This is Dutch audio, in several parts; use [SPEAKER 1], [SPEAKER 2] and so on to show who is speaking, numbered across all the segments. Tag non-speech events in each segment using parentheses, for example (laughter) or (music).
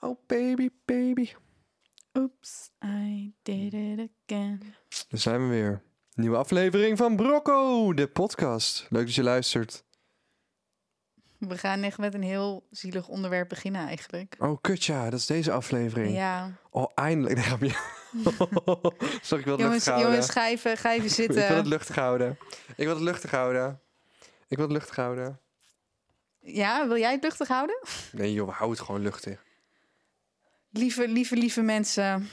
[SPEAKER 1] Oh baby, baby.
[SPEAKER 2] Oops, I did it again.
[SPEAKER 1] Daar zijn we weer. Nieuwe aflevering van Brocco, de podcast. Leuk dat je luistert.
[SPEAKER 2] We gaan echt met een heel zielig onderwerp beginnen eigenlijk.
[SPEAKER 1] Oh kut ja, dat is deze aflevering.
[SPEAKER 2] Ja,
[SPEAKER 1] Oh eindelijk. (laughs) Nee, grapje. Sorry, ik wil het
[SPEAKER 2] jongens,
[SPEAKER 1] luchtig houden.
[SPEAKER 2] jongens, ga even, ga even
[SPEAKER 1] (laughs) ik wil het
[SPEAKER 2] zitten.
[SPEAKER 1] luchtig houden. Ik wil het luchtig houden. Ik wil het luchtig houden.
[SPEAKER 2] Ja, wil jij het luchtig houden?
[SPEAKER 1] Nee joh, hou het gewoon luchtig.
[SPEAKER 2] Lieve, lieve, lieve mensen.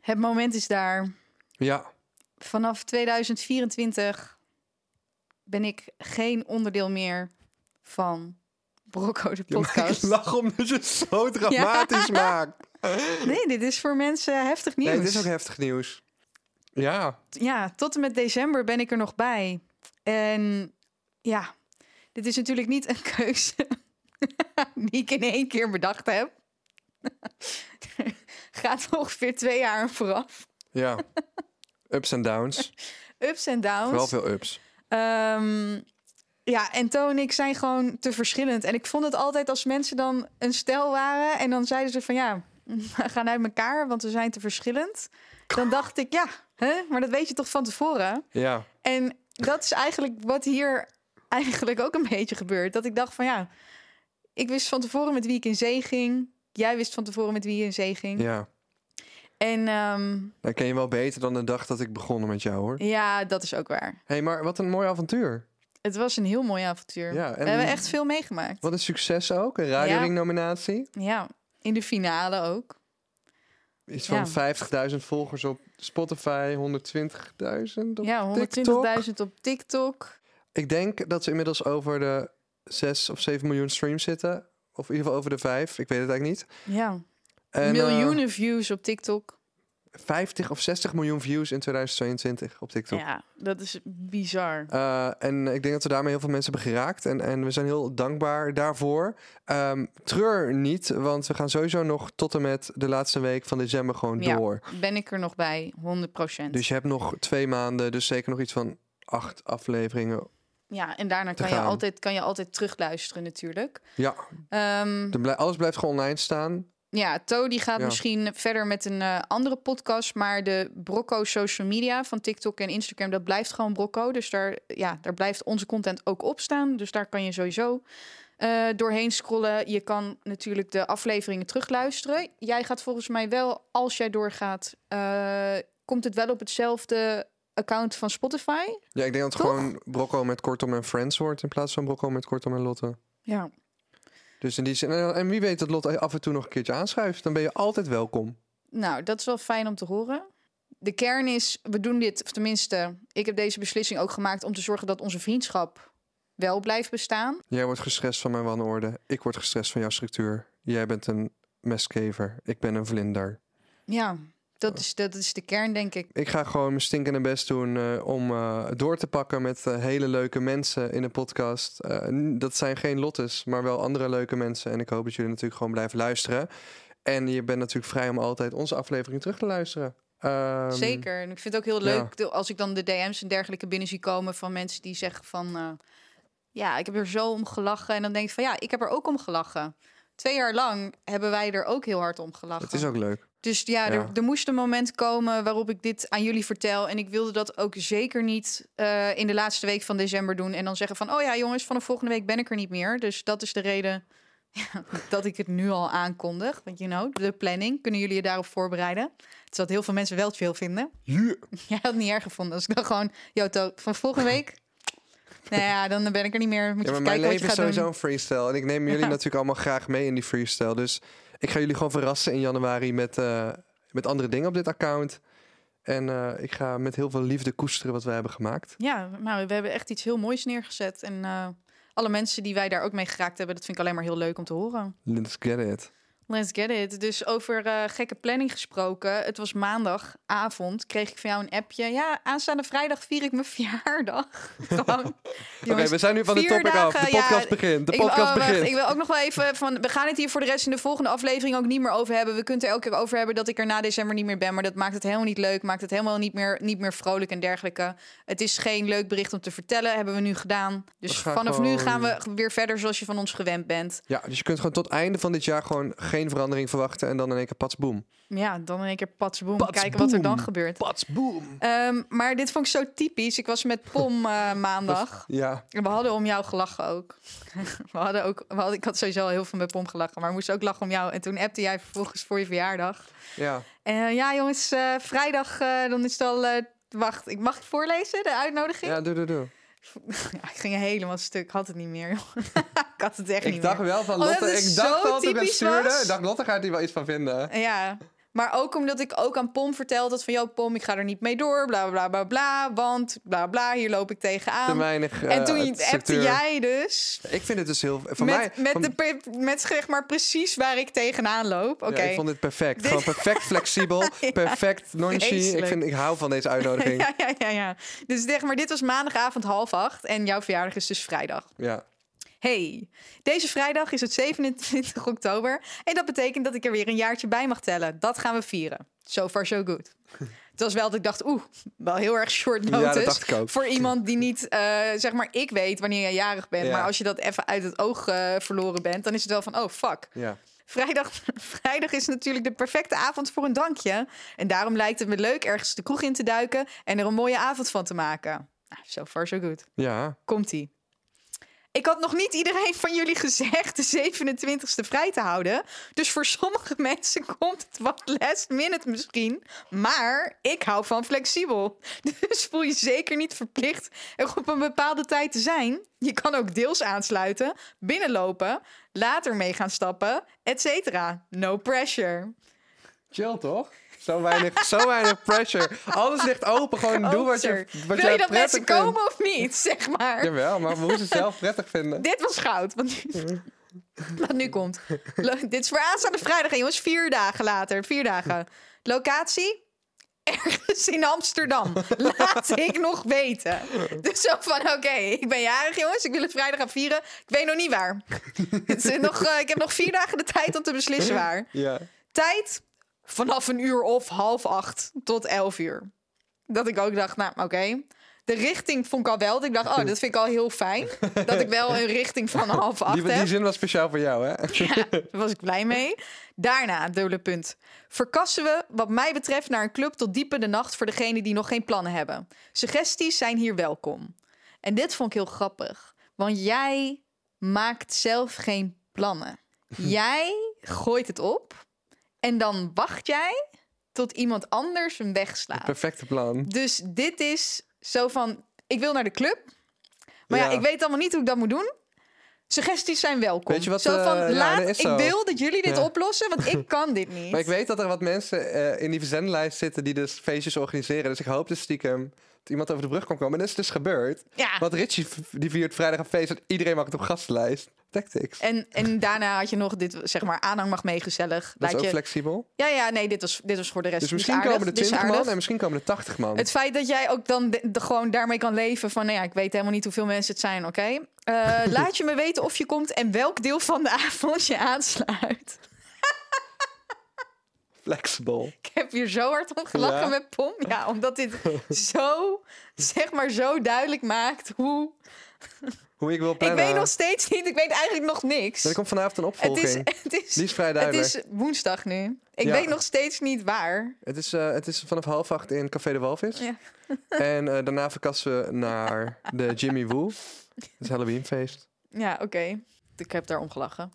[SPEAKER 2] Het moment is daar.
[SPEAKER 1] Ja, (laughs)
[SPEAKER 2] Vanaf 2024 ben ik geen onderdeel meer van
[SPEAKER 1] (laughs)
[SPEAKER 2] Brocco de
[SPEAKER 1] Ja, maar ik
[SPEAKER 2] podcast.
[SPEAKER 1] lach omdat je het
[SPEAKER 2] (laughs)
[SPEAKER 1] zo dramatisch maakt.
[SPEAKER 2] Nee, dit is voor mensen heftig nieuws.
[SPEAKER 1] Nee, dit is ook heftig nieuws. Ja,
[SPEAKER 2] ja, tot en met december ben ik er nog bij. En ja, dit is natuurlijk niet een keuze (laughs) die ik in één keer bedacht heb. (laughs) Gaat ongeveer twee jaar aan vooraf. (laughs)
[SPEAKER 1] ja. Ups en downs.
[SPEAKER 2] Oh, Ups en downs.
[SPEAKER 1] Vooral veel ups.
[SPEAKER 2] Ehm, ja, en Toon en ik zijn gewoon te verschillend. En ik vond het altijd als mensen dan een stel waren... en dan zeiden ze van ja, (laughs) we gaan uit elkaar, want we zijn te verschillend. Dan dacht ik, ja, hè? maar dat weet je toch van tevoren?
[SPEAKER 1] Ja,
[SPEAKER 2] En dat is eigenlijk wat hier eigenlijk ook een beetje gebeurt. Dat ik dacht van ja, ik wist van tevoren met wie ik in zee ging. Jij wist van tevoren met wie je in zee ging.
[SPEAKER 1] ja.
[SPEAKER 2] En ehm,
[SPEAKER 1] Dan ken je wel beter dan de dag dat ik begon met jou, hoor.
[SPEAKER 2] ja, dat is ook waar.
[SPEAKER 1] hey, maar wat een mooi avontuur.
[SPEAKER 2] Het was een heel mooi avontuur.
[SPEAKER 1] Ja, en-
[SPEAKER 2] We hebben echt veel meegemaakt.
[SPEAKER 1] Wat een succes ook. Een radioring-nominatie.
[SPEAKER 2] Ja, in de finale ook.
[SPEAKER 1] Iets
[SPEAKER 2] Ja.
[SPEAKER 1] van 50.000 volgers op Spotify, 120.000 op
[SPEAKER 2] Ja, 120.000
[SPEAKER 1] TikTok.
[SPEAKER 2] op TikTok.
[SPEAKER 1] Ik denk dat ze inmiddels over de 6 of 7 miljoen streams zitten. Of in ieder geval over de 5. Ik weet het eigenlijk niet.
[SPEAKER 2] Ja,
[SPEAKER 1] En, eh,
[SPEAKER 2] miljoenen views op TikTok.
[SPEAKER 1] 50 of 60 miljoen views in 2022 op TikTok.
[SPEAKER 2] Ja, dat is bizar.
[SPEAKER 1] Eh, en ik denk dat we daarmee heel veel mensen hebben geraakt. En, en we zijn heel dankbaar daarvoor. Ehm, treur niet, want we gaan sowieso nog tot en met de laatste week van december gewoon
[SPEAKER 2] Ja.
[SPEAKER 1] door.
[SPEAKER 2] Ben ik er nog bij, 100%.
[SPEAKER 1] Dus je hebt nog twee maanden, dus zeker nog iets van acht afleveringen.
[SPEAKER 2] Ja, en daarna
[SPEAKER 1] te
[SPEAKER 2] kan je,
[SPEAKER 1] gaan.
[SPEAKER 2] altijd, kan je altijd terugluisteren natuurlijk.
[SPEAKER 1] Ja,
[SPEAKER 2] Ehm,
[SPEAKER 1] er blij- alles blijft gewoon online staan.
[SPEAKER 2] ja, To die gaat
[SPEAKER 1] Ja.
[SPEAKER 2] misschien verder met een eh, andere podcast. Maar de Brocco social media van TikTok en Instagram, dat blijft gewoon Brocco. Dus daar, ja, daar blijft onze content ook op staan. Dus daar kan je sowieso eh, doorheen scrollen. Je kan natuurlijk de afleveringen terugluisteren. Jij gaat volgens mij wel, als jij doorgaat, eh, komt het wel op hetzelfde account van Spotify.
[SPEAKER 1] Ja, ik denk dat het
[SPEAKER 2] Toch?
[SPEAKER 1] gewoon Brocco met Kortom en Friends wordt in plaats van Brocco met Kortom en Lotte.
[SPEAKER 2] Ja.
[SPEAKER 1] Dus in die zin, en, en wie weet dat Lotte af en toe nog een keertje aanschuift, dan ben je altijd welkom.
[SPEAKER 2] Nou, dat is wel fijn om te horen. De kern is, we doen dit, of tenminste, ik heb deze beslissing ook gemaakt om te zorgen dat onze vriendschap wel blijft bestaan.
[SPEAKER 1] Jij wordt gestrest van mijn wanorde. Ik word gestrest van jouw structuur. Jij bent een mestkever. Ik ben een vlinder.
[SPEAKER 2] Ja, dat is, dat is de kern, denk ik.
[SPEAKER 1] Ik ga gewoon mijn stinkende best doen eh, om eh, door te pakken met eh, hele leuke mensen in de podcast. Eh, n- dat zijn geen Lottes, maar wel andere leuke mensen. En ik hoop dat jullie natuurlijk gewoon blijven luisteren. En je bent natuurlijk vrij om altijd onze aflevering terug te luisteren. Ehm,
[SPEAKER 2] Zeker. En ik vind het ook heel
[SPEAKER 1] ja.
[SPEAKER 2] leuk de- als ik dan de DM's en dergelijke binnen zie komen van mensen die zeggen van, eh, ja, ik heb er zo om gelachen. En dan denk ik van, ja, ik heb er ook om gelachen. Twee jaar lang hebben wij er ook heel hard om gelachen.
[SPEAKER 1] Het is ook leuk.
[SPEAKER 2] Dus ja,
[SPEAKER 1] Ja.
[SPEAKER 2] Er, er moest een moment komen waarop ik dit aan jullie vertel. En ik wilde dat ook zeker niet eh, in de laatste week van december doen. En dan zeggen van, oh ja jongens, vanaf volgende week ben ik er niet meer. Dus dat is de reden (laughs) ja, dat ik het nu al aankondig. Want you know, de planning, kunnen jullie je daarop voorbereiden? Het is wat heel veel mensen wel chill vinden. (laughs)
[SPEAKER 1] Ja.
[SPEAKER 2] Jij had het niet erg gevonden als ik dan gewoon... Yo, To, van volgende
[SPEAKER 1] (laughs)
[SPEAKER 2] week... nou ja, dan ben ik er niet meer. Moet
[SPEAKER 1] Ja, maar
[SPEAKER 2] je even
[SPEAKER 1] mijn
[SPEAKER 2] kijken wat
[SPEAKER 1] leven is
[SPEAKER 2] je gaat doen.
[SPEAKER 1] sowieso een freestyle. En ik neem
[SPEAKER 2] (laughs)
[SPEAKER 1] jullie
[SPEAKER 2] Ja.
[SPEAKER 1] natuurlijk allemaal graag mee in die freestyle. Dus ik ga jullie gewoon verrassen in januari met, eh, met andere dingen op dit account. En eh, ik ga met heel veel liefde koesteren wat wij hebben gemaakt.
[SPEAKER 2] Ja, nou, we hebben echt iets heel moois neergezet. En eh, alle mensen die wij daar ook mee geraakt hebben, dat vind ik alleen maar heel leuk om te horen.
[SPEAKER 1] Let's get it.
[SPEAKER 2] Let's get it. Dus over eh, gekke planning gesproken. Het was maandagavond, kreeg ik van jou een appje. Ja, aanstaande vrijdag vier ik mijn (laughs) verjaardag. Gewoon,
[SPEAKER 1] Oké,
[SPEAKER 2] jongens,
[SPEAKER 1] we zijn nu van de
[SPEAKER 2] vier
[SPEAKER 1] topic af. De
[SPEAKER 2] dagen, ja,
[SPEAKER 1] podcast begint. De
[SPEAKER 2] ik, wil-
[SPEAKER 1] podcast
[SPEAKER 2] oh, wacht,
[SPEAKER 1] begint.
[SPEAKER 2] ik wil ook nog wel even van. We gaan het hier voor de rest in de volgende aflevering ook niet meer over hebben. We kunnen het er elke keer over hebben dat ik er na december niet meer ben. Maar dat maakt het helemaal niet leuk. Maakt het helemaal niet meer, niet meer vrolijk en dergelijke. Het is geen leuk bericht om te vertellen. Hebben we nu gedaan. Dus
[SPEAKER 1] We gaan
[SPEAKER 2] vanaf nu
[SPEAKER 1] gewoon-
[SPEAKER 2] gaan we weer verder zoals je van ons gewend bent.
[SPEAKER 1] Ja, dus je kunt gewoon tot einde van dit jaar gewoon geen verandering verwachten en dan in één keer pats boom.
[SPEAKER 2] Ja, dan in één keer patsboom.
[SPEAKER 1] Pats,
[SPEAKER 2] kijken wat er dan
[SPEAKER 1] boem.
[SPEAKER 2] gebeurt.
[SPEAKER 1] Pats boom.
[SPEAKER 2] Ehm, maar dit vond ik zo typisch. Ik was met Pom eh, maandag.
[SPEAKER 1] Ja,
[SPEAKER 2] En We hadden om jou gelachen ook. (laughs) We hadden ook we hadden, ik had sowieso al heel veel met Pom gelachen, maar we moesten ook lachen om jou. En toen appte jij vervolgens voor je verjaardag.
[SPEAKER 1] ja.
[SPEAKER 2] Eh, ja, jongens, eh, vrijdag eh, dan is het al. eh, wacht, ik mag het voorlezen, de uitnodiging.
[SPEAKER 1] Ja, doe, doe, doe.
[SPEAKER 2] (laughs) Ja, ik ging helemaal stuk. Ik had het niet meer. joh. (laughs) ik had het echt
[SPEAKER 1] Ik
[SPEAKER 2] niet
[SPEAKER 1] dacht
[SPEAKER 2] meer.
[SPEAKER 1] wel van
[SPEAKER 2] Omdat
[SPEAKER 1] Lotte.
[SPEAKER 2] het
[SPEAKER 1] Ik
[SPEAKER 2] Oh, zo
[SPEAKER 1] dacht al toen ik het
[SPEAKER 2] typisch
[SPEAKER 1] stuurde.
[SPEAKER 2] was.
[SPEAKER 1] Ik dacht, Lotte gaat hier wel iets van vinden.
[SPEAKER 2] Ja. Maar ook omdat ik ook aan Pom verteld had van... joh, Pom, ik ga er niet mee door, bla, bla, bla, bla... want bla, bla, hier loop ik
[SPEAKER 1] Te
[SPEAKER 2] tegenaan.
[SPEAKER 1] weinig eh,
[SPEAKER 2] en toen
[SPEAKER 1] het
[SPEAKER 2] appte
[SPEAKER 1] secteur.
[SPEAKER 2] jij dus...
[SPEAKER 1] Ik vind het dus heel... Van
[SPEAKER 2] met
[SPEAKER 1] mij,
[SPEAKER 2] met,
[SPEAKER 1] van-
[SPEAKER 2] de, pre- met zeg maar precies waar ik tegenaan loop. Oké.
[SPEAKER 1] Ja, ik vond dit perfect.
[SPEAKER 2] Dit-
[SPEAKER 1] Gewoon perfect
[SPEAKER 2] (laughs)
[SPEAKER 1] flexibel, perfect nonchie. Ik,
[SPEAKER 2] Vreselijk.
[SPEAKER 1] vind, ik hou van deze uitnodiging. ja.
[SPEAKER 2] (laughs) ja, ja, ja, ja. Dus zeg maar, dit was maandagavond half acht... en jouw verjaardag is dus vrijdag. Hey, deze vrijdag is het 27 oktober en dat betekent dat ik er weer een jaartje bij mag tellen. Dat gaan we vieren. So far, so
[SPEAKER 1] (laughs)
[SPEAKER 2] good. Het was wel dat ik dacht, oeh, wel heel erg short
[SPEAKER 1] Ja,
[SPEAKER 2] notice.
[SPEAKER 1] dat dacht ik ook.
[SPEAKER 2] Voor iemand die niet, eh, zeg maar, ik weet wanneer jij jarig bent.
[SPEAKER 1] Ja.
[SPEAKER 2] Maar als je dat even uit het oog eh, verloren bent, dan is het wel van, oh, fuck.
[SPEAKER 1] ja.
[SPEAKER 2] Vrijdag, (laughs) vrijdag is natuurlijk de perfecte avond voor een dankje. En daarom lijkt het me leuk ergens de kroeg in te duiken en er een mooie avond van te maken. Nou, so far, so good.
[SPEAKER 1] Ja.
[SPEAKER 2] Komt-ie. Ik had nog niet iedereen van jullie gezegd de 27e vrij te houden. Dus voor sommige (laughs) mensen komt het wat last minute misschien. Maar ik hou van flexibel. (laughs) Dus voel je zeker niet verplicht er op een bepaalde tijd te zijn. Je kan ook deels aansluiten, binnenlopen, later mee gaan stappen, et cetera. No pressure.
[SPEAKER 1] Chill toch? Zo
[SPEAKER 2] (laughs)
[SPEAKER 1] weinig, zo weinig pressure. Alles ligt open. Gewoon doe wat je,
[SPEAKER 2] Koopster.
[SPEAKER 1] wat
[SPEAKER 2] Oh, Wil
[SPEAKER 1] jij
[SPEAKER 2] je dat
[SPEAKER 1] prettig
[SPEAKER 2] mensen
[SPEAKER 1] vindt.
[SPEAKER 2] komen of niet, (laughs) zeg maar.
[SPEAKER 1] Jawel, maar we moeten het
[SPEAKER 2] (laughs)
[SPEAKER 1] zelf prettig vinden.
[SPEAKER 2] Dit was goud. Want nu, wat nu komt. Lo- dit is voor aanstaande vrijdag, hè, jongens. Vier dagen later. Vier dagen. Locatie? Ergens in Amsterdam. Laat ik nog weten. Dus zo van, oké, ik ben jarig, jongens. Ik wil het vrijdag gaan vieren. Ik weet nog niet waar. Het is nog, eh, ik heb nog vier dagen de tijd om te beslissen waar.
[SPEAKER 1] Ja.
[SPEAKER 2] Tijd? Vanaf een uur of half acht tot elf uur. Dat ik ook dacht, nou oké. De richting vond ik al wel. dat Ik dacht, oh, dat vind ik al heel fijn. Dat ik wel een
[SPEAKER 1] (laughs)
[SPEAKER 2] richting van half acht
[SPEAKER 1] Die,
[SPEAKER 2] heb.
[SPEAKER 1] die zin was speciaal voor jou, hè?
[SPEAKER 2] Daar was ik blij mee. Daarna, dubbele punt. Verkassen we, wat mij betreft, naar een club tot diep in de nacht voor degenen die nog geen plannen hebben. Suggesties zijn hier welkom. En dit vond ik heel grappig. Want jij maakt zelf geen plannen. Jij gooit het op en dan wacht jij tot iemand anders hem wegslaat.
[SPEAKER 1] (laughs) Perfecte plan.
[SPEAKER 2] Dus dit is zo van: ik wil naar de club, maar ja,
[SPEAKER 1] Ja.
[SPEAKER 2] ik weet allemaal niet hoe ik dat moet doen. Suggesties zijn welkom.
[SPEAKER 1] Weet je wat,
[SPEAKER 2] Zo
[SPEAKER 1] eh,
[SPEAKER 2] van:
[SPEAKER 1] ja,
[SPEAKER 2] laat,
[SPEAKER 1] dat
[SPEAKER 2] ik
[SPEAKER 1] is zo.
[SPEAKER 2] wil dat jullie dit
[SPEAKER 1] Ja.
[SPEAKER 2] oplossen, want
[SPEAKER 1] (laughs)
[SPEAKER 2] ik kan dit niet.
[SPEAKER 1] Maar ik weet dat er wat mensen eh, in die verzendlijst zitten die dus feestjes organiseren. Dus ik hoop dus stiekem dat iemand over de brug kon komen. En dat is dus gebeurd.
[SPEAKER 2] Ja.
[SPEAKER 1] Want Richie v- die viert vrijdag een feest en iedereen mag het op gastenlijst. Tactics.
[SPEAKER 2] En, en daarna had je nog dit, zeg maar, aanhang mag mee, gezellig.
[SPEAKER 1] Dat is
[SPEAKER 2] Laat
[SPEAKER 1] ook
[SPEAKER 2] je...
[SPEAKER 1] flexibel.
[SPEAKER 2] Ja, ja, nee, dit was, dit was voor de rest
[SPEAKER 1] Dus
[SPEAKER 2] niet
[SPEAKER 1] misschien
[SPEAKER 2] aardig,
[SPEAKER 1] komen er
[SPEAKER 2] dit is
[SPEAKER 1] 20
[SPEAKER 2] aardig.
[SPEAKER 1] man en misschien komen er 80 man.
[SPEAKER 2] Het feit dat jij ook dan de- de- gewoon daarmee kan leven van, nou ja, ik weet helemaal niet hoeveel mensen het zijn, oké? Eh,
[SPEAKER 1] (laughs)
[SPEAKER 2] laat je me weten of je komt en welk deel van de avond je aansluit.
[SPEAKER 1] Flexibel.
[SPEAKER 2] Ik heb hier zo hard om gelachen
[SPEAKER 1] Ja.
[SPEAKER 2] met Pom. Ja,
[SPEAKER 1] (laughs)
[SPEAKER 2] omdat dit zo, zeg maar, zo duidelijk maakt hoe...
[SPEAKER 1] Hoe ik wil
[SPEAKER 2] Ik
[SPEAKER 1] plannen.
[SPEAKER 2] weet nog steeds niet, ik weet eigenlijk nog niks.
[SPEAKER 1] Er komt vanavond een
[SPEAKER 2] Het is,
[SPEAKER 1] opvolging.
[SPEAKER 2] het, is,
[SPEAKER 1] Die is vrij
[SPEAKER 2] het
[SPEAKER 1] duidelijk.
[SPEAKER 2] is woensdag nu. Ik
[SPEAKER 1] Ja.
[SPEAKER 2] weet nog steeds niet waar.
[SPEAKER 1] Het is, eh, het is vanaf half acht in Café de Walvis.
[SPEAKER 2] Ja.
[SPEAKER 1] (laughs) En eh, daarna verkassen we naar de Jimmy Woo. Dat is Halloweenfeest.
[SPEAKER 2] Ja, oké. Ik heb daar om gelachen.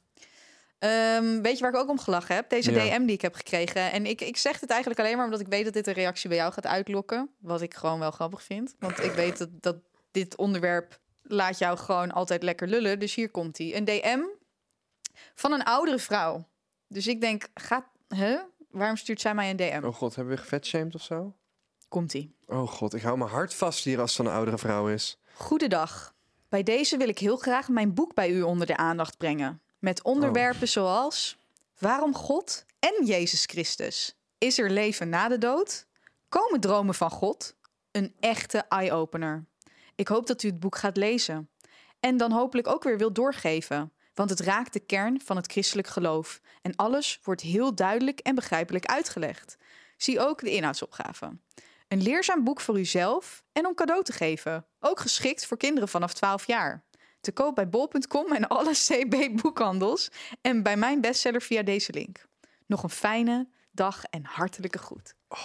[SPEAKER 2] Ehm, weet je waar ik ook om gelachen heb? Deze
[SPEAKER 1] Ja.
[SPEAKER 2] DM die ik heb gekregen. En ik, ik zeg het eigenlijk alleen maar omdat ik weet dat dit een reactie bij jou gaat uitlokken. Wat ik gewoon wel grappig vind. Want ik weet dat, dat dit onderwerp laat jou gewoon altijd lekker lullen. Dus hier komt hij. Een DM van een oudere vrouw. Dus ik denk, gaat, huh? waarom stuurt zij mij een DM?
[SPEAKER 1] Oh god, hebben we gevetshamed of zo?
[SPEAKER 2] Komt hij.
[SPEAKER 1] Oh god, ik hou mijn hart vast hier als het een oudere vrouw is.
[SPEAKER 2] Goedendag. Bij deze wil ik heel graag mijn boek bij u onder de aandacht brengen. Met onderwerpen zoals: waarom God en Jezus Christus? Is er leven na de dood? Komen dromen van God? Een echte eye-opener. Ik hoop dat u het boek gaat lezen. En dan hopelijk ook weer wilt doorgeven, want het raakt de kern van het christelijk geloof. En alles wordt heel duidelijk en begrijpelijk uitgelegd. Zie ook de inhoudsopgave. Een leerzaam boek voor uzelf en om cadeau te geven. Ook geschikt voor kinderen vanaf 12 jaar. Te koop bij bol.com en alle (laughs) CB-boekhandels. En bij mijn bestseller via deze link. Nog een fijne dag en hartelijke groet. Oh.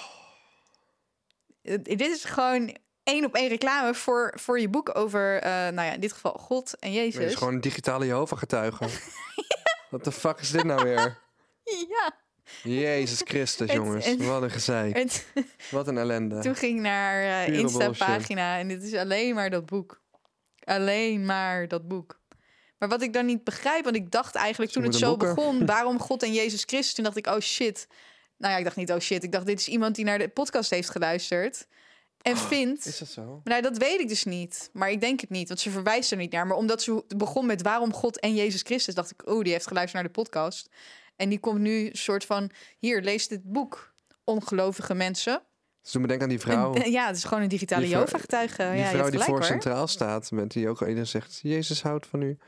[SPEAKER 2] Eh, Dit is gewoon één op één reclame voor, voor je boek over, eh, nou ja, in dit geval God en Jezus.
[SPEAKER 1] Het is gewoon een digitale Jehovah-getuige. Wat de fuck is dit nou weer?
[SPEAKER 2] (laughs) Ja.
[SPEAKER 1] Jezus Christus,
[SPEAKER 2] Het-
[SPEAKER 1] jongens.
[SPEAKER 2] het-
[SPEAKER 1] Wat een gezeik.
[SPEAKER 2] En t-
[SPEAKER 1] Wat een ellende.
[SPEAKER 2] toen ging ik naar eh
[SPEAKER 1] Pure
[SPEAKER 2] Insta-pagina en dit is alleen maar dat boek. Alleen maar dat boek. Maar wat ik dan niet begrijp, want ik dacht eigenlijk
[SPEAKER 1] Ze
[SPEAKER 2] toen het zo
[SPEAKER 1] moeten boeken. (laughs)
[SPEAKER 2] begon, waarom God en Jezus Christus? Toen dacht ik, oh shit. Nou ja, ik dacht niet, oh shit. Ik dacht, dit is iemand die naar de podcast heeft geluisterd en vindt.
[SPEAKER 1] Oh, Is dat zo?
[SPEAKER 2] Maar nou, dat weet ik dus niet. Maar ik denk het niet, want ze verwijst er niet naar. Maar omdat ze begon met waarom God en Jezus Christus, dacht ik, oh, die heeft geluisterd naar de podcast. En die komt nu soort van, hier, lees dit boek. Ongelovige mensen.
[SPEAKER 1] Ze doen me denken aan die vrouw.
[SPEAKER 2] En, eh, ja, het is gewoon een digitale
[SPEAKER 1] Die vrouw-
[SPEAKER 2] Jehovah-getuige. Ja, je
[SPEAKER 1] Die
[SPEAKER 2] hebt
[SPEAKER 1] vrouw die
[SPEAKER 2] gelijk,
[SPEAKER 1] voor
[SPEAKER 2] hoor.
[SPEAKER 1] centraal staat, met die ook iedereen zegt: Jezus houdt van u.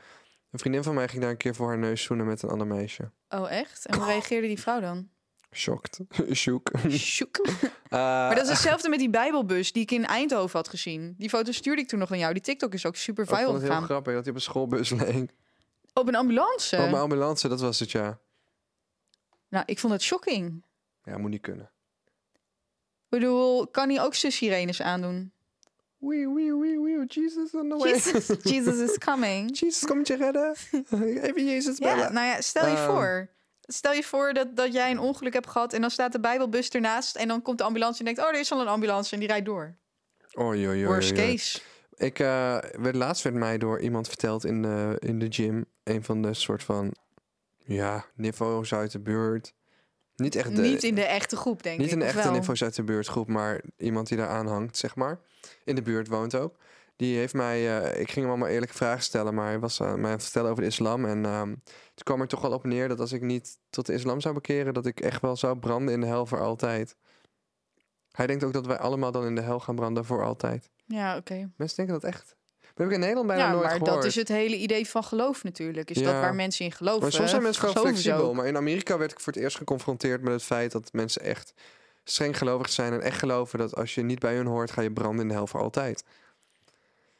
[SPEAKER 1] Een vriendin van mij ging daar een keer voor haar neus zoenen met een ander meisje.
[SPEAKER 2] Oh, echt? En hoe reageerde die vrouw
[SPEAKER 1] (laughs)
[SPEAKER 2] dan?
[SPEAKER 1] Shocked. Shook.
[SPEAKER 2] Sjoek.
[SPEAKER 1] Eh,
[SPEAKER 2] Maar dat is dus hetzelfde met die Bijbelbus die ik in Eindhoven had gezien. Die foto stuurde ik toen nog aan jou. Die TikTok is ook super
[SPEAKER 1] Oh, ik vond
[SPEAKER 2] viral
[SPEAKER 1] het heel
[SPEAKER 2] gegaan.
[SPEAKER 1] grappig dat hij op een schoolbus leek.
[SPEAKER 2] Op een ambulance.
[SPEAKER 1] Oh, mijn ambulance, dat was het ja.
[SPEAKER 2] Nou, ik vond het shocking.
[SPEAKER 1] Ja, moet niet kunnen.
[SPEAKER 2] Ik bedoel, kan hij ook sirenes aandoen?
[SPEAKER 1] Wee, wee, wee, wee, Jesus on the way. Jesus,
[SPEAKER 2] Jesus,
[SPEAKER 1] (laughs)
[SPEAKER 2] Jesus is coming.
[SPEAKER 1] komt je
[SPEAKER 2] (laughs)
[SPEAKER 1] redden. Even Jezus
[SPEAKER 2] Ja,
[SPEAKER 1] bellen.
[SPEAKER 2] nou ja, stel je
[SPEAKER 1] Ehm.
[SPEAKER 2] voor. Stel je voor dat, dat jij een ongeluk hebt gehad en dan staat de Bijbelbus ernaast en dan komt de ambulance en denkt, oh, er is al een ambulance en die rijdt door.
[SPEAKER 1] Oei, oei, oei,
[SPEAKER 2] Worst
[SPEAKER 1] oei, oei.
[SPEAKER 2] case.
[SPEAKER 1] Ik eh, werd laatst werd mij door iemand verteld in de, in de gym. Een van de soort van, ja, niveaus uit de buurt. Niet echt de,
[SPEAKER 2] Niet in de echte groep, denk
[SPEAKER 1] Niet
[SPEAKER 2] ik.
[SPEAKER 1] een
[SPEAKER 2] of
[SPEAKER 1] echte
[SPEAKER 2] wel?
[SPEAKER 1] niveaus uit de buurtgroep, maar iemand die daar aanhangt, zeg maar. In de buurt woont ook. Die heeft mij, eh, ik ging hem allemaal eerlijke vragen stellen, maar hij was aan mij aan het vertellen over de islam. En ehm het kwam er toch wel op neer dat als ik niet tot de islam zou bekeren, dat ik echt wel zou branden in de hel voor altijd. Hij denkt ook dat wij allemaal dan in de hel gaan branden voor altijd.
[SPEAKER 2] Ja, oké.
[SPEAKER 1] Mensen denken dat echt. Dat heb ik in Nederland bijna
[SPEAKER 2] Ja,
[SPEAKER 1] nooit
[SPEAKER 2] maar
[SPEAKER 1] gehoord.
[SPEAKER 2] dat is het hele idee van geloof natuurlijk. Is dat
[SPEAKER 1] Ja.
[SPEAKER 2] waar mensen in geloven?
[SPEAKER 1] Maar soms zijn mensen gewoon
[SPEAKER 2] Geloven ze
[SPEAKER 1] flexibel.
[SPEAKER 2] ook.
[SPEAKER 1] Maar in Amerika werd ik voor het eerst geconfronteerd met het feit dat mensen echt streng gelovig zijn en echt geloven dat als je niet bij hun hoort, ga je branden in de hel voor altijd.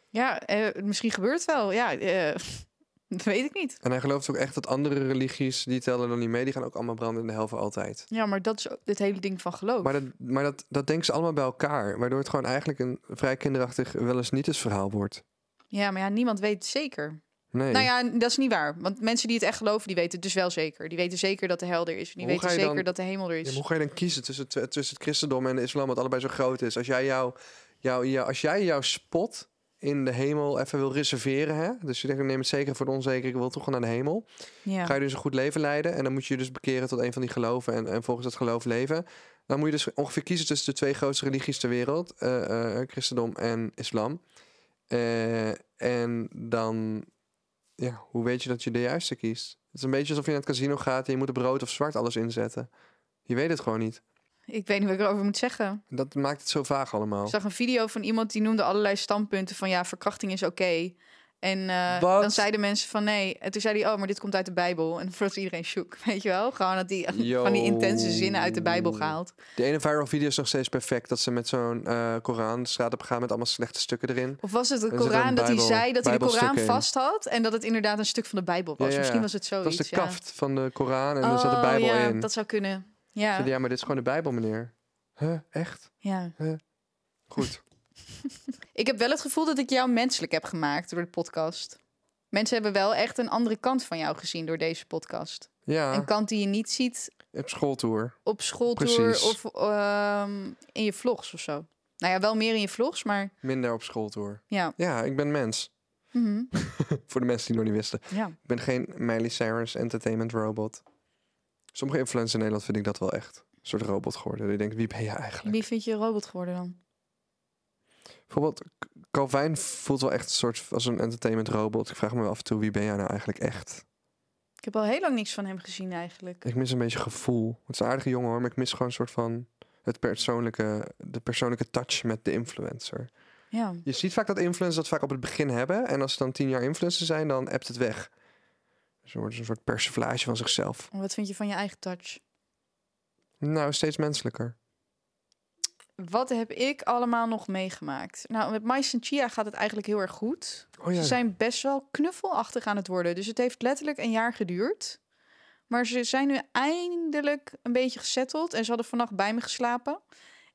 [SPEAKER 2] Ja, eh, misschien gebeurt het wel. Ja, eh, (laughs) dat weet ik niet.
[SPEAKER 1] En hij gelooft ook echt dat andere religies die tellen dan niet mee, die gaan ook allemaal branden in de hel voor altijd.
[SPEAKER 2] Ja, maar dat is ook het hele ding van geloof.
[SPEAKER 1] Maar, dat, maar dat, dat denken ze allemaal bij elkaar, waardoor het gewoon eigenlijk een vrij kinderachtig wel eens niet eens verhaal wordt.
[SPEAKER 2] Ja, maar ja, niemand weet het zeker.
[SPEAKER 1] Nee.
[SPEAKER 2] Nou ja, dat is niet waar. Want mensen die het echt geloven, die weten het dus wel zeker. Die weten zeker dat de hel er is. Die
[SPEAKER 1] Hoe
[SPEAKER 2] weten
[SPEAKER 1] ga je
[SPEAKER 2] zeker
[SPEAKER 1] dan-
[SPEAKER 2] dat de hemel er
[SPEAKER 1] Ja,
[SPEAKER 2] is.
[SPEAKER 1] maar hoe ga je dan kiezen tussen, tw- tussen het christendom en de islam, wat allebei zo groot is? Als jij jouw jou, jou, als jij jouw spot in de hemel even wil reserveren, hè? dus je denkt, ik neem het zeker voor het onzeker, ik wil toch gewoon naar de hemel.
[SPEAKER 2] Ja.
[SPEAKER 1] Ga je dus een goed leven leiden en dan moet je je dus bekeren tot een van die geloven en, en volgens dat geloof leven. Dan moet je dus ongeveer kiezen tussen de twee grootste religies ter wereld, eh, eh, christendom en islam. Eh, en dan, ja, hoe weet je dat je de juiste kiest? Het is een beetje alsof je naar het casino gaat en je moet op rood of zwart alles inzetten. Je weet het gewoon niet.
[SPEAKER 2] Ik weet niet wat ik erover moet zeggen.
[SPEAKER 1] Dat maakt het zo vaag allemaal.
[SPEAKER 2] Ik zag een video van iemand die noemde allerlei standpunten van ja, verkrachting is oké. En eh,
[SPEAKER 1] Wat?
[SPEAKER 2] dan zeiden mensen van nee. En toen zei hij, oh, maar dit komt uit de Bijbel. En voor iedereen shook, (laughs) weet je wel? Gewoon dat die
[SPEAKER 1] Yo.
[SPEAKER 2] van die intense zinnen uit de Bijbel gehaald.
[SPEAKER 1] De ene viral video is nog steeds perfect. Dat ze met zo'n eh, Koran de straat op gaan met allemaal slechte stukken erin.
[SPEAKER 2] Of was het de
[SPEAKER 1] Er zit een
[SPEAKER 2] Koran dat hij
[SPEAKER 1] Bijbel-
[SPEAKER 2] zei dat hij de
[SPEAKER 1] Bijbelstuk
[SPEAKER 2] Koran
[SPEAKER 1] in.
[SPEAKER 2] vast had en dat het inderdaad een stuk van de Bijbel was?
[SPEAKER 1] Ja, ja,
[SPEAKER 2] Misschien
[SPEAKER 1] ja.
[SPEAKER 2] was het
[SPEAKER 1] Dat
[SPEAKER 2] zoiets.
[SPEAKER 1] was de
[SPEAKER 2] ja.
[SPEAKER 1] kaft van de Koran en er zat de
[SPEAKER 2] Oh,
[SPEAKER 1] Bijbel
[SPEAKER 2] ja,
[SPEAKER 1] in.
[SPEAKER 2] Dat zou kunnen. Ja,
[SPEAKER 1] Zeiden, Ja, maar dit is gewoon de Bijbel, meneer. Huh, echt?
[SPEAKER 2] ja.
[SPEAKER 1] Goed.
[SPEAKER 2] Ik heb wel het gevoel dat ik jou menselijk heb gemaakt door de podcast. Mensen hebben wel echt een andere kant van jou gezien door deze podcast.
[SPEAKER 1] Ja,
[SPEAKER 2] Een kant die je niet ziet
[SPEAKER 1] op schooltour.
[SPEAKER 2] op schooltour
[SPEAKER 1] Precies.
[SPEAKER 2] of ehm, in je vlogs of zo. Nou ja, wel meer in je vlogs, maar
[SPEAKER 1] Minder op schooltour.
[SPEAKER 2] ja.
[SPEAKER 1] Ja, ik ben mens. (laughs)
[SPEAKER 2] Mhm.
[SPEAKER 1] Voor de mensen die het nog niet wisten.
[SPEAKER 2] ja.
[SPEAKER 1] Ik ben geen Miley Cyrus entertainment robot. Sommige influencers in Nederland vind ik dat wel echt. Een soort robot geworden. Die denken, wie ben je eigenlijk?
[SPEAKER 2] Wie vind je een robot geworden dan?
[SPEAKER 1] Bijvoorbeeld, K- Calvin voelt wel echt een soort als een entertainment robot. Ik vraag me wel af en toe, wie ben jij nou eigenlijk echt?
[SPEAKER 2] Ik heb al heel lang niks van hem gezien eigenlijk.
[SPEAKER 1] Ik mis een beetje gevoel. Het is een aardige jongen hoor, maar ik mis gewoon een soort van... Het persoonlijke, de persoonlijke touch met de influencer.
[SPEAKER 2] Ja.
[SPEAKER 1] Je ziet vaak dat influencers dat vaak op het begin hebben. En als ze dan tien jaar influencer zijn, dan appt het weg. Dus dan wordt het een soort persiflage van zichzelf.
[SPEAKER 2] En Wat vind je van je eigen touch?
[SPEAKER 1] Nou, steeds menselijker.
[SPEAKER 2] Wat heb ik allemaal nog meegemaakt? Nou, met Mais en Chia gaat het eigenlijk heel erg goed.
[SPEAKER 1] Oh ja.
[SPEAKER 2] Ze zijn best wel knuffelachtig aan het worden. Dus het heeft letterlijk een jaar geduurd. Maar ze zijn nu eindelijk een beetje gezetteld. En ze hadden vannacht bij me geslapen.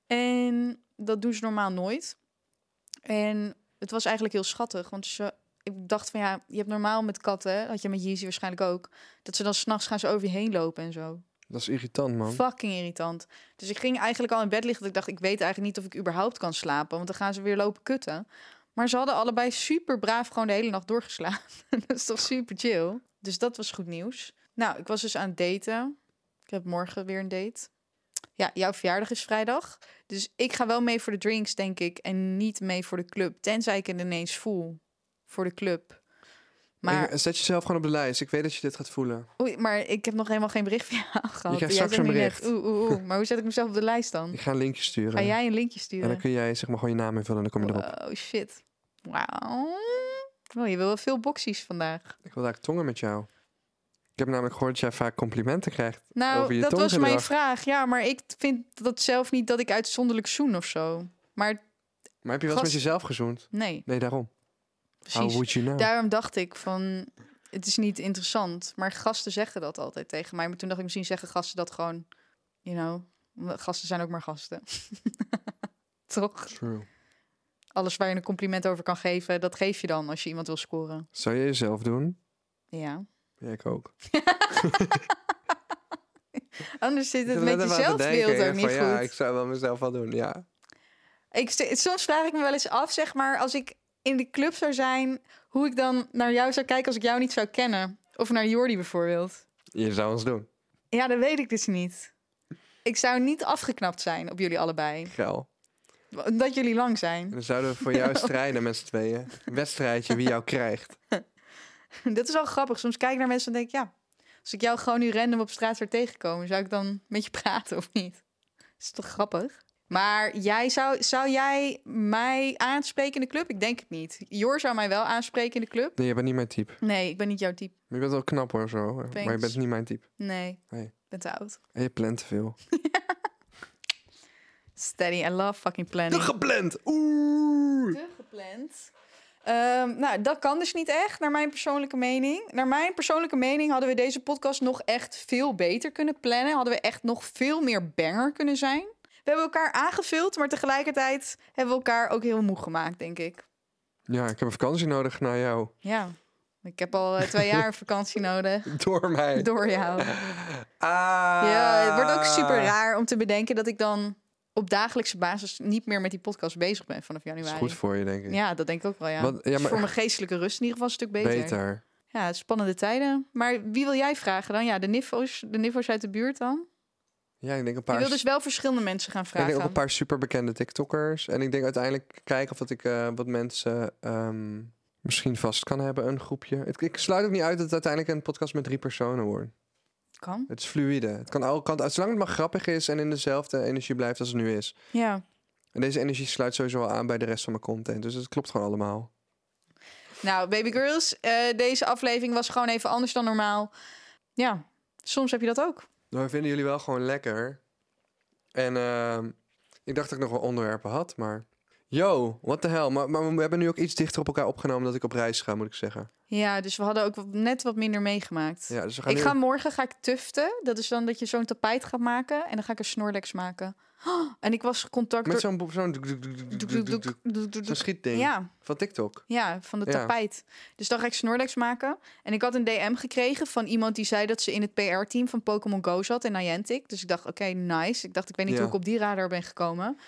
[SPEAKER 2] En dat doen ze normaal nooit. En het was eigenlijk heel schattig. Want ze, ik dacht van ja, je hebt normaal met katten, had je met Yeezy waarschijnlijk ook, dat ze dan s'nachts gaan ze over je heen lopen en zo.
[SPEAKER 1] Dat is irritant, man.
[SPEAKER 2] Fucking irritant. Dus ik ging eigenlijk al in bed liggen. Dat ik dacht, ik weet eigenlijk niet of ik überhaupt kan slapen. Want dan gaan ze weer lopen kutten. Maar ze hadden allebei super braaf gewoon de hele nacht doorgeslapen. (laughs) dat is toch super chill. Dus dat was goed nieuws. Nou, ik was dus aan het daten. Ik heb morgen weer een date. Ja, jouw verjaardag is vrijdag. Dus ik ga wel mee voor de drinks, denk ik. En niet mee voor de club. Tenzij ik het ineens voel voor de club. Maar,
[SPEAKER 1] En Zet jezelf gewoon op de lijst. Ik weet dat je dit gaat voelen.
[SPEAKER 2] oei, maar ik heb nog helemaal geen bericht van jou (laughs) gehad.
[SPEAKER 1] krijgt
[SPEAKER 2] Jij
[SPEAKER 1] straks
[SPEAKER 2] zei
[SPEAKER 1] een
[SPEAKER 2] nu net, Oeh, oeh, oeh. Maar hoe zet ik mezelf op de lijst dan?
[SPEAKER 1] Ik ga een linkje sturen.
[SPEAKER 2] Hm. Ga jij een linkje
[SPEAKER 1] En
[SPEAKER 2] sturen?
[SPEAKER 1] dan kun jij zeg maar gewoon je naam invullen en dan kom je erop.
[SPEAKER 2] Oh shit. Wauw. Oh, je wil wel veel boxies vandaag.
[SPEAKER 1] Ik wil daar tongen met jou. Ik heb namelijk gehoord dat jij vaak complimenten krijgt. Over
[SPEAKER 2] Nou,
[SPEAKER 1] je
[SPEAKER 2] dat was mijn
[SPEAKER 1] tonggedrag.
[SPEAKER 2] vraag. Ja, maar ik vind dat zelf niet dat ik uitzonderlijk zoen of zo. Maar
[SPEAKER 1] Maar heb je wel eens met
[SPEAKER 2] Gast-
[SPEAKER 1] jezelf gezoend?
[SPEAKER 2] nee,
[SPEAKER 1] Nee, daarom. How
[SPEAKER 2] precies.
[SPEAKER 1] would you know?
[SPEAKER 2] Daarom dacht ik van, het is niet interessant. Maar gasten zeggen dat altijd tegen mij. Maar toen dacht ik, misschien zeggen gasten dat gewoon, you know. Gasten zijn ook maar gasten. (laughs) Toch?
[SPEAKER 1] True.
[SPEAKER 2] Alles waar je een compliment over kan geven, dat geef je dan als je iemand wil scoren.
[SPEAKER 1] Zou je jezelf doen?
[SPEAKER 2] Ja.
[SPEAKER 1] Ja, ik ook.
[SPEAKER 2] Anders zit
[SPEAKER 1] Ik
[SPEAKER 2] het
[SPEAKER 1] zat net
[SPEAKER 2] met
[SPEAKER 1] even
[SPEAKER 2] je
[SPEAKER 1] aan te
[SPEAKER 2] zelfbeeld
[SPEAKER 1] denken,
[SPEAKER 2] ook
[SPEAKER 1] van,
[SPEAKER 2] niet
[SPEAKER 1] Ja,
[SPEAKER 2] goed.
[SPEAKER 1] ik zou wel mezelf wel doen, ja.
[SPEAKER 2] Ik, st- soms vraag ik me wel eens af, zeg maar, als ik in de club zou zijn, hoe ik dan naar jou zou kijken als ik jou niet zou kennen. Of naar Jordi bijvoorbeeld.
[SPEAKER 1] Je zou ons doen.
[SPEAKER 2] Ja, dat weet ik dus niet. Ik zou niet afgeknapt zijn op jullie allebei.
[SPEAKER 1] Geil.
[SPEAKER 2] Omdat jullie lang
[SPEAKER 1] En
[SPEAKER 2] zijn.
[SPEAKER 1] dan zouden we voor jou strijden met z'n tweeën. Een wedstrijdje wie jou krijgt.
[SPEAKER 2] (laughs) Dat is wel grappig. Soms kijk ik naar mensen en denk ik, ja, als ik jou gewoon nu random op straat zou tegenkomen, zou ik dan met je (laughs) praten of niet? is toch grappig? Maar jij zou, zou jij mij aanspreken in de club? Ik denk het niet. Jor zou mij wel aanspreken in de club.
[SPEAKER 1] Nee, je bent niet mijn type.
[SPEAKER 2] Nee, ik ben niet jouw type.
[SPEAKER 1] Maar je bent wel knap hoor, zo. Maar je
[SPEAKER 2] Thanks.
[SPEAKER 1] bent niet mijn type.
[SPEAKER 2] Nee,
[SPEAKER 1] Nee.
[SPEAKER 2] ik ben te oud.
[SPEAKER 1] En je plant te veel.
[SPEAKER 2] Steady, I love fucking
[SPEAKER 1] Te
[SPEAKER 2] planning.
[SPEAKER 1] gepland! Oeh!
[SPEAKER 2] Te gepland. Ehm, nou, dat kan dus niet echt, naar mijn persoonlijke mening. Naar mijn persoonlijke mening hadden we deze podcast nog echt veel beter kunnen plannen. Hadden we echt nog veel meer banger kunnen zijn. We hebben elkaar aangevuld, maar tegelijkertijd hebben we elkaar ook heel moe gemaakt, denk ik.
[SPEAKER 1] Ja, ik heb een vakantie nodig naar jou.
[SPEAKER 2] Ja, ik heb al eh, twee
[SPEAKER 1] (laughs)
[SPEAKER 2] jaar vakantie nodig.
[SPEAKER 1] Door mij.
[SPEAKER 2] Door jou.
[SPEAKER 1] Ah.
[SPEAKER 2] Ja, het wordt ook super raar om te bedenken dat ik dan op dagelijkse basis niet meer met die podcast bezig ben vanaf
[SPEAKER 1] Dat is
[SPEAKER 2] januari.
[SPEAKER 1] goed voor je, denk ik.
[SPEAKER 2] Ja, dat denk ik ook wel, ja.
[SPEAKER 1] Wat- ja,
[SPEAKER 2] Is
[SPEAKER 1] maar-
[SPEAKER 2] voor mijn geestelijke rust in ieder geval een stuk beter.
[SPEAKER 1] Beter.
[SPEAKER 2] Ja, spannende tijden. Maar wie wil jij vragen dan? Ja, de niffo's, de niffo's uit de buurt dan?
[SPEAKER 1] Ja, ik denk een
[SPEAKER 2] Je
[SPEAKER 1] paar...
[SPEAKER 2] wil dus wel verschillende mensen gaan
[SPEAKER 1] ik denk ook
[SPEAKER 2] vragen.
[SPEAKER 1] een paar superbekende TikTokkers. En ik denk uiteindelijk kijken of dat ik eh, wat mensen ehm, misschien vast kan hebben, een groepje. Het- ik sluit ook niet uit dat het uiteindelijk een podcast met drie personen wordt.
[SPEAKER 2] Kan.
[SPEAKER 1] Het is fluïde. Het kan alle kanten uit, zolang het maar grappig is en in dezelfde energie blijft als het nu is.
[SPEAKER 2] Ja.
[SPEAKER 1] En deze energie sluit sowieso wel aan bij de rest van mijn content. Dus het klopt gewoon allemaal.
[SPEAKER 2] Nou, baby girls, eh, deze aflevering was gewoon even anders dan normaal. Ja, soms heb je dat ook.
[SPEAKER 1] Nou, we vinden jullie wel gewoon lekker. En ehm, ik dacht dat ik nog wel onderwerpen had, maar... Yo, what the hell. Maar, maar we hebben nu ook iets dichter op elkaar opgenomen dat ik op reis ga, moet ik zeggen.
[SPEAKER 2] Ja, dus we hadden ook wat- net wat minder meegemaakt.
[SPEAKER 1] Ja, dus we gaan
[SPEAKER 2] ik
[SPEAKER 1] nu...
[SPEAKER 2] ga morgen ga ik tuften. Dat is dan dat je zo'n tapijt gaat maken en dan ga ik een snorlex maken. Oh, en ik was contact
[SPEAKER 1] Met
[SPEAKER 2] door...
[SPEAKER 1] zo'n bo- zo'n
[SPEAKER 2] doek, doek, doek, doek, doek,
[SPEAKER 1] zo'n
[SPEAKER 2] doek.
[SPEAKER 1] schietding
[SPEAKER 2] Ja,
[SPEAKER 1] van TikTok.
[SPEAKER 2] Ja, van de
[SPEAKER 1] Ja.
[SPEAKER 2] tapijt. Dus dan ga ik Snorlax maken. En ik had een DM gekregen van iemand die zei dat ze in het PR-team van Pokémon Go zat en Niantic. Dus ik dacht, oké, nice. Ik dacht, ik weet niet
[SPEAKER 1] Ja.
[SPEAKER 2] hoe ik op die radar ben gekomen.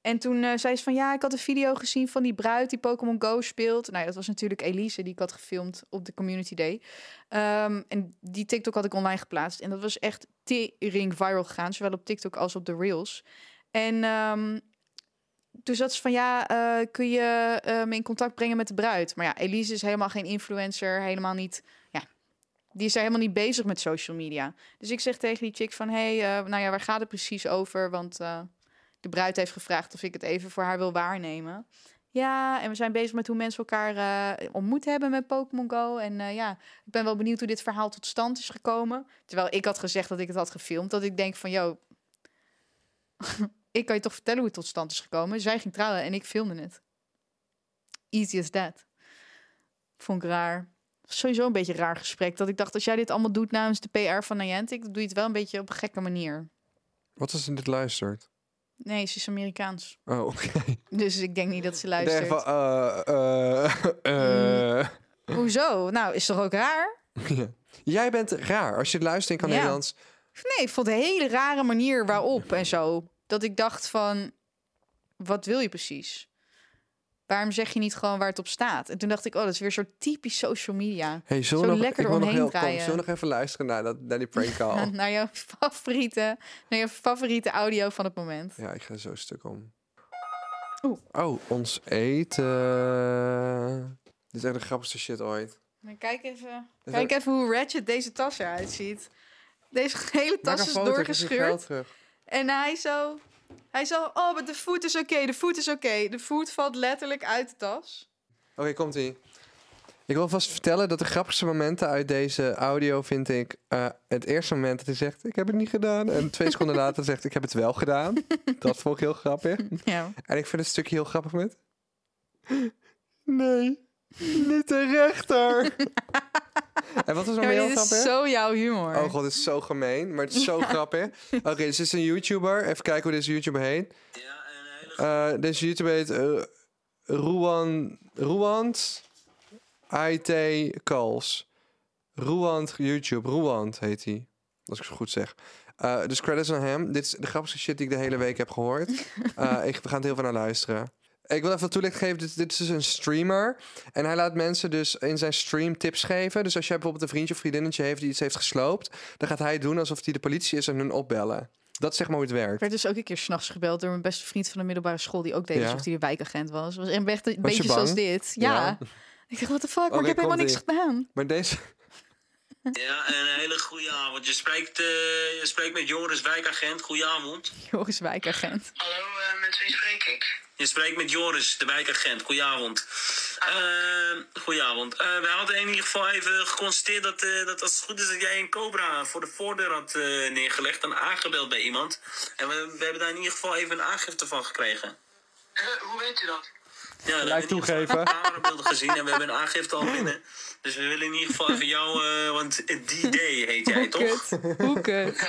[SPEAKER 2] En toen eh, zei ze van, ja, ik had een video gezien van die bruid die Pokémon Go speelt. Nou ja, dat was natuurlijk Elise, die ik had gefilmd op de Community Day. Ehm, en die TikTok had ik online geplaatst. En dat was echt tering viral gegaan, zowel op TikTok als op de Reels. En ehm, toen zat ze Dus van ja, eh, kun je eh, me in contact brengen met de bruid? Maar ja, Elise is helemaal geen influencer, helemaal niet. Ja, die is daar helemaal niet bezig met social media. Dus ik zeg tegen die chick van hey, eh, nou ja, waar gaat het precies over? Want eh, de bruid heeft gevraagd of ik het even voor haar wil waarnemen. Ja, en we zijn bezig met hoe mensen elkaar eh, ontmoet hebben met Pokémon Go. En eh, ja, ik ben wel benieuwd hoe dit verhaal tot stand is gekomen. Terwijl ik had gezegd dat ik het had gefilmd. Dat ik denk van, yo, ik kan je toch vertellen hoe het tot stand is gekomen. Zij ging trouwen en ik filmde het. Easy as that. Vond ik raar. Sowieso een beetje een raar gesprek. Dat ik dacht, als jij dit allemaal doet namens de PR van Niantic, dan doe je het wel een beetje op een gekke manier.
[SPEAKER 1] Wat als ze dit luistert?
[SPEAKER 2] Nee, ze is Amerikaans.
[SPEAKER 1] Oh, oké.
[SPEAKER 2] Dus ik denk niet dat ze
[SPEAKER 1] Ik denk
[SPEAKER 2] luistert. Mm.
[SPEAKER 1] van, eh, eh, eh.
[SPEAKER 2] Hoezo? Nou, is toch ook raar?
[SPEAKER 1] Ja. Jij bent raar. Als je het luistert in kan
[SPEAKER 2] Ja.
[SPEAKER 1] Nederlands,
[SPEAKER 2] Nee, ik vond een hele rare manier waarop en zo. Dat ik dacht van, wat wil je precies? Waarom zeg je niet gewoon waar het op staat? En toen dacht ik, oh, dat is weer zo typisch social media.
[SPEAKER 1] Hey, zullen
[SPEAKER 2] Zo
[SPEAKER 1] we nog,
[SPEAKER 2] lekker
[SPEAKER 1] ik wil nog
[SPEAKER 2] eromheen
[SPEAKER 1] heel kort-
[SPEAKER 2] draaien.
[SPEAKER 1] Zullen we nog even luisteren naar, dat, naar die prank
[SPEAKER 2] (laughs)
[SPEAKER 1] call?
[SPEAKER 2] naar jouw favoriete, naar jouw favoriete audio van het moment.
[SPEAKER 1] ja, ik ga zo stuk om.
[SPEAKER 2] Oeh.
[SPEAKER 1] Oh, ons eten. Dit is echt de grappigste shit ooit.
[SPEAKER 2] Maar Nou, Kijk even,
[SPEAKER 1] Dus
[SPEAKER 2] kijk even hoe ratchet deze tas eruit ziet. Deze (laughs) hele
[SPEAKER 1] Maak
[SPEAKER 2] tas
[SPEAKER 1] een
[SPEAKER 2] is
[SPEAKER 1] foto, geef je geld
[SPEAKER 2] doorgescheurd.
[SPEAKER 1] terug.
[SPEAKER 2] En hij zo, hij zo, oh, maar de voet is oké, de voet is oké. De voet valt letterlijk uit de
[SPEAKER 1] (laughs)
[SPEAKER 2] tas.
[SPEAKER 1] Oké, komt ie. Ik wil vast vertellen dat de grappigste momenten uit deze audio vind ik eh, het eerste moment dat hij zegt: Ik heb het niet gedaan. En twee seconden later zegt: Ik heb het wel
[SPEAKER 2] (laughs)
[SPEAKER 1] gedaan. Dat vond ik heel grappig.
[SPEAKER 2] Ja.
[SPEAKER 1] En ik vind het stukje heel grappig met. Nee, niet de
[SPEAKER 2] (laughs)
[SPEAKER 1] rechter. en wat is nog meer
[SPEAKER 2] Ja, maar
[SPEAKER 1] heel
[SPEAKER 2] dit is
[SPEAKER 1] grappig?
[SPEAKER 2] zo jouw humor.
[SPEAKER 1] Oh god, dit is zo gemeen, maar het is zo grappig. Oké, dus dit is een YouTuber. Even kijken hoe deze YouTuber heet.
[SPEAKER 3] Ja, een hele
[SPEAKER 1] Eh, deze YouTuber heet eh, Ruan, Ruand IT Calls. Ruand YouTube. Ruand heet hij. Als ik het goed zeg. Eh, dus credits aan hem. Dit is de grappigste shit die ik de hele week heb
[SPEAKER 2] (laughs)
[SPEAKER 1] gehoord. Eh, ik, we gaan het heel veel naar luisteren. Ik wil even wat toelichting geven. Dit, dit is dus een streamer. En hij laat mensen dus in zijn stream tips geven. Dus als jij bijvoorbeeld een vriendje of vriendinnetje heeft die iets heeft gesloopt. Dan gaat hij doen alsof hij de politie is en hun opbellen. Dat is zeg maar hoe het werkt.
[SPEAKER 2] Ik werd dus ook een keer s'nachts gebeld door mijn beste vriend van de middelbare school. Die ook deed
[SPEAKER 1] Ja.
[SPEAKER 2] alsof hij de wijkagent was. was en echt een
[SPEAKER 1] Was je
[SPEAKER 2] beetje zoals
[SPEAKER 1] bang?
[SPEAKER 2] dit. Ja.
[SPEAKER 1] Ja. Oh,
[SPEAKER 2] Ik dacht, what the fuck, maar ik
[SPEAKER 1] daar
[SPEAKER 2] heb helemaal
[SPEAKER 1] komt
[SPEAKER 2] niks gedaan. (laughs)
[SPEAKER 1] Maar deze...
[SPEAKER 3] Ja, een hele goede avond. Je spreekt, eh, je spreekt met Joris Wijkagent. Goedenavond.
[SPEAKER 2] Joris wijkagent.
[SPEAKER 4] Hallo, eh, met wie spreek ik?
[SPEAKER 3] Je spreekt met Joris, de wijkagent. Goedenavond. Eh goedenavond. Eh wij hadden in ieder geval even geconstateerd dat, eh, dat als het goed is dat jij een cobra voor de voordeur had eh, neergelegd en aangebeld bij iemand. En we, we hebben daar in ieder geval even een aangifte van gekregen.
[SPEAKER 4] Eh, hoe weet u dat?
[SPEAKER 3] Ja, we
[SPEAKER 1] Gelijk
[SPEAKER 3] hebben in ieder geval
[SPEAKER 1] toegeven.
[SPEAKER 3] camerabeelden gezien en we hebben een aangifte al binnen. Dus we willen in ieder geval even jou, eh, want D-Day heet jij toch?
[SPEAKER 2] Kut. Hoe kut.
[SPEAKER 4] Eh,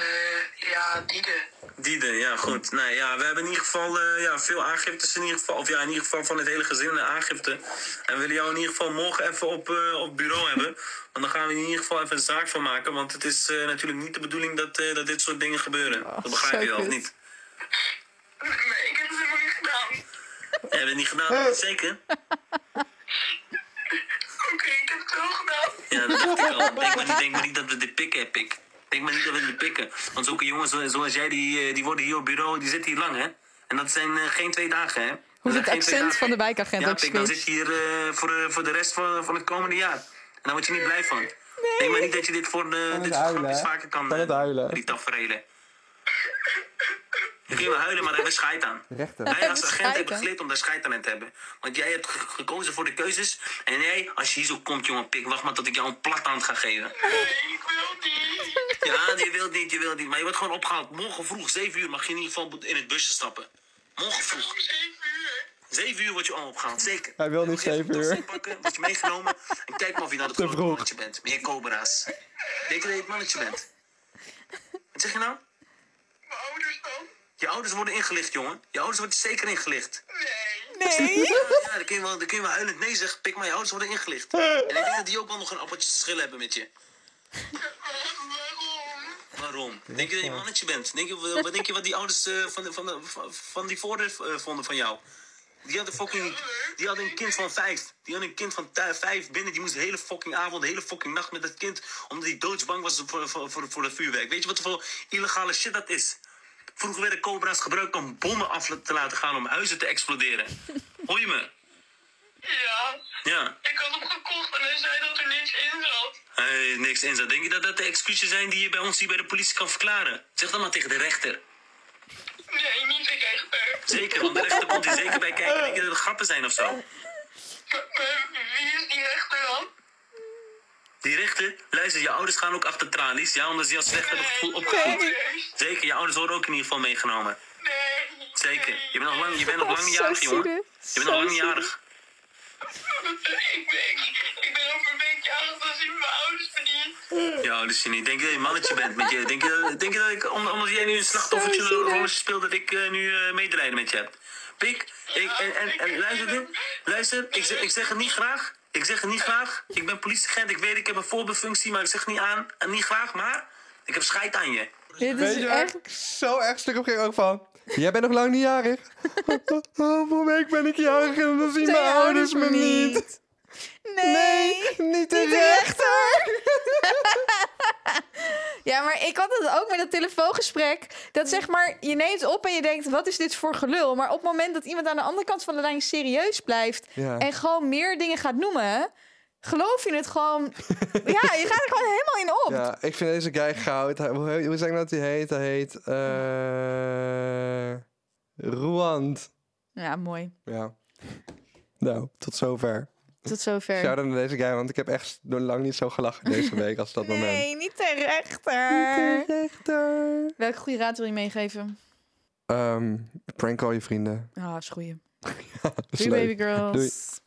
[SPEAKER 4] ja, Diede.
[SPEAKER 3] Diede, ja goed. Nou ja, we hebben in ieder geval eh, ja, veel aangiftes in ieder geval. Of ja, in ieder geval van het hele gezin een aangifte. En we willen jou in ieder geval morgen even op, eh, op bureau hebben. Want dan gaan we in ieder geval even een zaak van maken. Want het is eh, natuurlijk niet de bedoeling dat, eh, dat dit soort dingen gebeuren. dat
[SPEAKER 2] zo
[SPEAKER 3] begrijp je wel, of
[SPEAKER 2] kut.
[SPEAKER 3] niet?
[SPEAKER 4] Nee, ik heb het helemaal niet gedaan.
[SPEAKER 3] Ja, heb je het niet gedaan? Zeker?
[SPEAKER 4] Oké, ik heb het wel gedaan.
[SPEAKER 3] Ja, dat dacht ik al. Denk maar, niet, denk maar niet dat we dit pikken, hè, pik. Denk maar niet dat we dit pikken. Want zulke jongens zo- zoals jij, die, eh, die worden hier op bureau, die zitten hier lang, hè? En dat zijn eh, geen twee dagen, hè?
[SPEAKER 2] Hoe het
[SPEAKER 3] Dat zijn geen twee
[SPEAKER 2] accent
[SPEAKER 3] dagen.
[SPEAKER 2] van de wijkagent
[SPEAKER 3] Ja,
[SPEAKER 2] ook
[SPEAKER 3] pik, dan zit
[SPEAKER 2] switcht.
[SPEAKER 3] je hier eh, voor, de, voor de rest van, van het komende jaar. En daar word je niet blij van. Denk maar niet dat je dit voor de, dit soort
[SPEAKER 1] huilen,
[SPEAKER 3] grapjes
[SPEAKER 1] hè?
[SPEAKER 3] vaker kan.
[SPEAKER 1] Van het
[SPEAKER 3] eh,
[SPEAKER 1] huilen.
[SPEAKER 3] Die tafereelen. Dan kun je wel huilen, maar daar hebben we scheid aan.
[SPEAKER 1] Rechter.
[SPEAKER 3] Wij als
[SPEAKER 2] Hebben
[SPEAKER 3] agent
[SPEAKER 2] (laughs) scheid
[SPEAKER 3] hebben
[SPEAKER 2] aan.
[SPEAKER 3] geleerd om daar scheid aan te hebben. Want jij hebt ge- gekozen voor de keuzes. En jij, als je hier zo komt, jongen, pik, wacht maar tot ik jou een plathand ga geven.
[SPEAKER 4] Nee, ik wil niet.
[SPEAKER 3] (laughs) Ja, je wilt niet, je wilt niet. Maar je wordt gewoon opgehaald. Morgen vroeg, 7 uur, mag je in ieder geval in het busje stappen. Morgen vroeg.
[SPEAKER 4] Om zeven uur.
[SPEAKER 3] 7 uur wordt je al opgehaald, zeker.
[SPEAKER 1] Hij wil niet
[SPEAKER 3] Geef je
[SPEAKER 1] 7
[SPEAKER 3] tas
[SPEAKER 1] uur.
[SPEAKER 3] in Pakken, word je meegenomen en kijk maar of je nou
[SPEAKER 1] (laughs)
[SPEAKER 3] dat
[SPEAKER 1] Te
[SPEAKER 3] grote
[SPEAKER 1] vroeg.
[SPEAKER 3] mannetje bent. Meer cobra's. Denk je dat je het mannetje bent? Wat zeg je nou?
[SPEAKER 4] Mijn ouders dan?
[SPEAKER 3] Je ouders worden ingelicht, jongen. Je ouders worden zeker ingelicht.
[SPEAKER 4] Nee.
[SPEAKER 2] Nee.
[SPEAKER 3] Ja, dan kun je wel, dan kun je wel huilend nee zeggen. Pik maar, je ouders worden ingelicht. En ik denk dat die ook wel nog een appeltje te schillen hebben met je.
[SPEAKER 4] Wa- Eh, Waarom?
[SPEAKER 3] Waarom? Denk je dat je een mannetje bent? Denk je, wat- wat denk je wat die ouders eh, van, de- van, de- van- van die voordeur eh, vonden van jou? Die hadden fucking. Die hadden een kind van vijf. Die hadden een kind van tu- vijf binnen. Die moest de hele fucking avond, de hele fucking nacht met dat kind. Omdat hij doodsbang was voor, voor, voor, voor het vuurwerk. Weet je wat voor illegale shit dat is? Vroeger werden cobra's gebruikt om bommen af te laten gaan om huizen te exploderen. Hoor je me?
[SPEAKER 4] Ja,
[SPEAKER 3] Ja.
[SPEAKER 4] ik had hem gekocht en hij zei dat er niks in zat.
[SPEAKER 3] Hey, niks in zat. Denk je dat dat de excuses zijn die je bij ons hier bij de politie kan verklaren? Zeg dat maar tegen de rechter.
[SPEAKER 4] Nee, niet de rechter.
[SPEAKER 3] Zeker, want de rechter komt hier zeker bij kijken. Denk je dat het grappen zijn of zo?
[SPEAKER 4] Maar- maar Wie is die rechter dan?
[SPEAKER 3] Die rechter, luister, je ouders gaan ook achter tralies. Ja, omdat ze jou slecht hebben gevoel
[SPEAKER 4] Nee,
[SPEAKER 3] opgevoed.
[SPEAKER 4] ouders.
[SPEAKER 3] Zeker, je ouders worden ook in ieder geval meegenomen.
[SPEAKER 4] Nee.
[SPEAKER 3] Zeker. Je bent nog lang, je bent nog lang niet
[SPEAKER 2] (laughs) zo
[SPEAKER 3] jarig, jongen.
[SPEAKER 2] zielig.
[SPEAKER 3] Je bent nog
[SPEAKER 2] Zo
[SPEAKER 3] lang niet
[SPEAKER 2] zielig.
[SPEAKER 3] jarig.
[SPEAKER 4] Ik ben, ik, ik ben over een week jarig, dan zien mijn ouders verdiend.
[SPEAKER 3] Ja, dus je niet. Denk je dat je een mannetje bent? Met je, denk, je, dat- denk je dat ik, om- omdat jij nu een slachtoffertje
[SPEAKER 2] Zo zielig.
[SPEAKER 3] rolletje speelt, dat ik eh, nu eh medelijden met je heb? Pik, ik, en, en, en luister, dit. luister ik, zeg, ik zeg het niet graag. Ik zeg het niet graag. Ik ben politieagent, ik weet, ik heb een voorbefunctie, maar ik zeg het niet aan. en Niet graag, maar ik heb scheid aan je.
[SPEAKER 2] Dit
[SPEAKER 1] Weet
[SPEAKER 2] is
[SPEAKER 1] je waar
[SPEAKER 2] echt...
[SPEAKER 1] ik zo erg stuk op ging ook van? Jij bent nog lang niet
[SPEAKER 2] (laughs)
[SPEAKER 1] jarig. Over een week ben ik jarig en dan zien
[SPEAKER 2] Zijn
[SPEAKER 1] mijn ouders me niet.
[SPEAKER 2] Nee.
[SPEAKER 1] Niet
[SPEAKER 2] Niet de
[SPEAKER 1] terecht.
[SPEAKER 2] rechter! (laughs) ja, maar ik had het ook met dat telefoongesprek. Dat zeg maar, je neemt op en je denkt, wat is dit voor gelul? Maar op het moment dat iemand aan de andere kant van de lijn serieus blijft...
[SPEAKER 1] Ja.
[SPEAKER 2] en gewoon meer dingen gaat noemen... geloof je het
[SPEAKER 1] (laughs)
[SPEAKER 2] gewoon... ja, je gaat er gewoon helemaal in op.
[SPEAKER 1] Ja, ik vind deze guy goud. Hij- Hoe, hoe zeg ik nou dat hij heet? Hij heet... eh Ruand.
[SPEAKER 2] ja mooi.
[SPEAKER 1] Ja. Nou, tot zover.
[SPEAKER 2] Tot zover.
[SPEAKER 1] Shout-out naar deze guy, want ik heb echt nog lang niet zo gelachen deze week als dat moment.
[SPEAKER 2] (laughs) Nee, niet de rechter. Welke goede raad wil je meegeven?
[SPEAKER 1] Ehm, prank al je vrienden. (laughs)
[SPEAKER 2] Ah, is goeie.
[SPEAKER 1] Dat is
[SPEAKER 2] Doei
[SPEAKER 1] leuk.
[SPEAKER 2] baby girls.
[SPEAKER 1] Doei.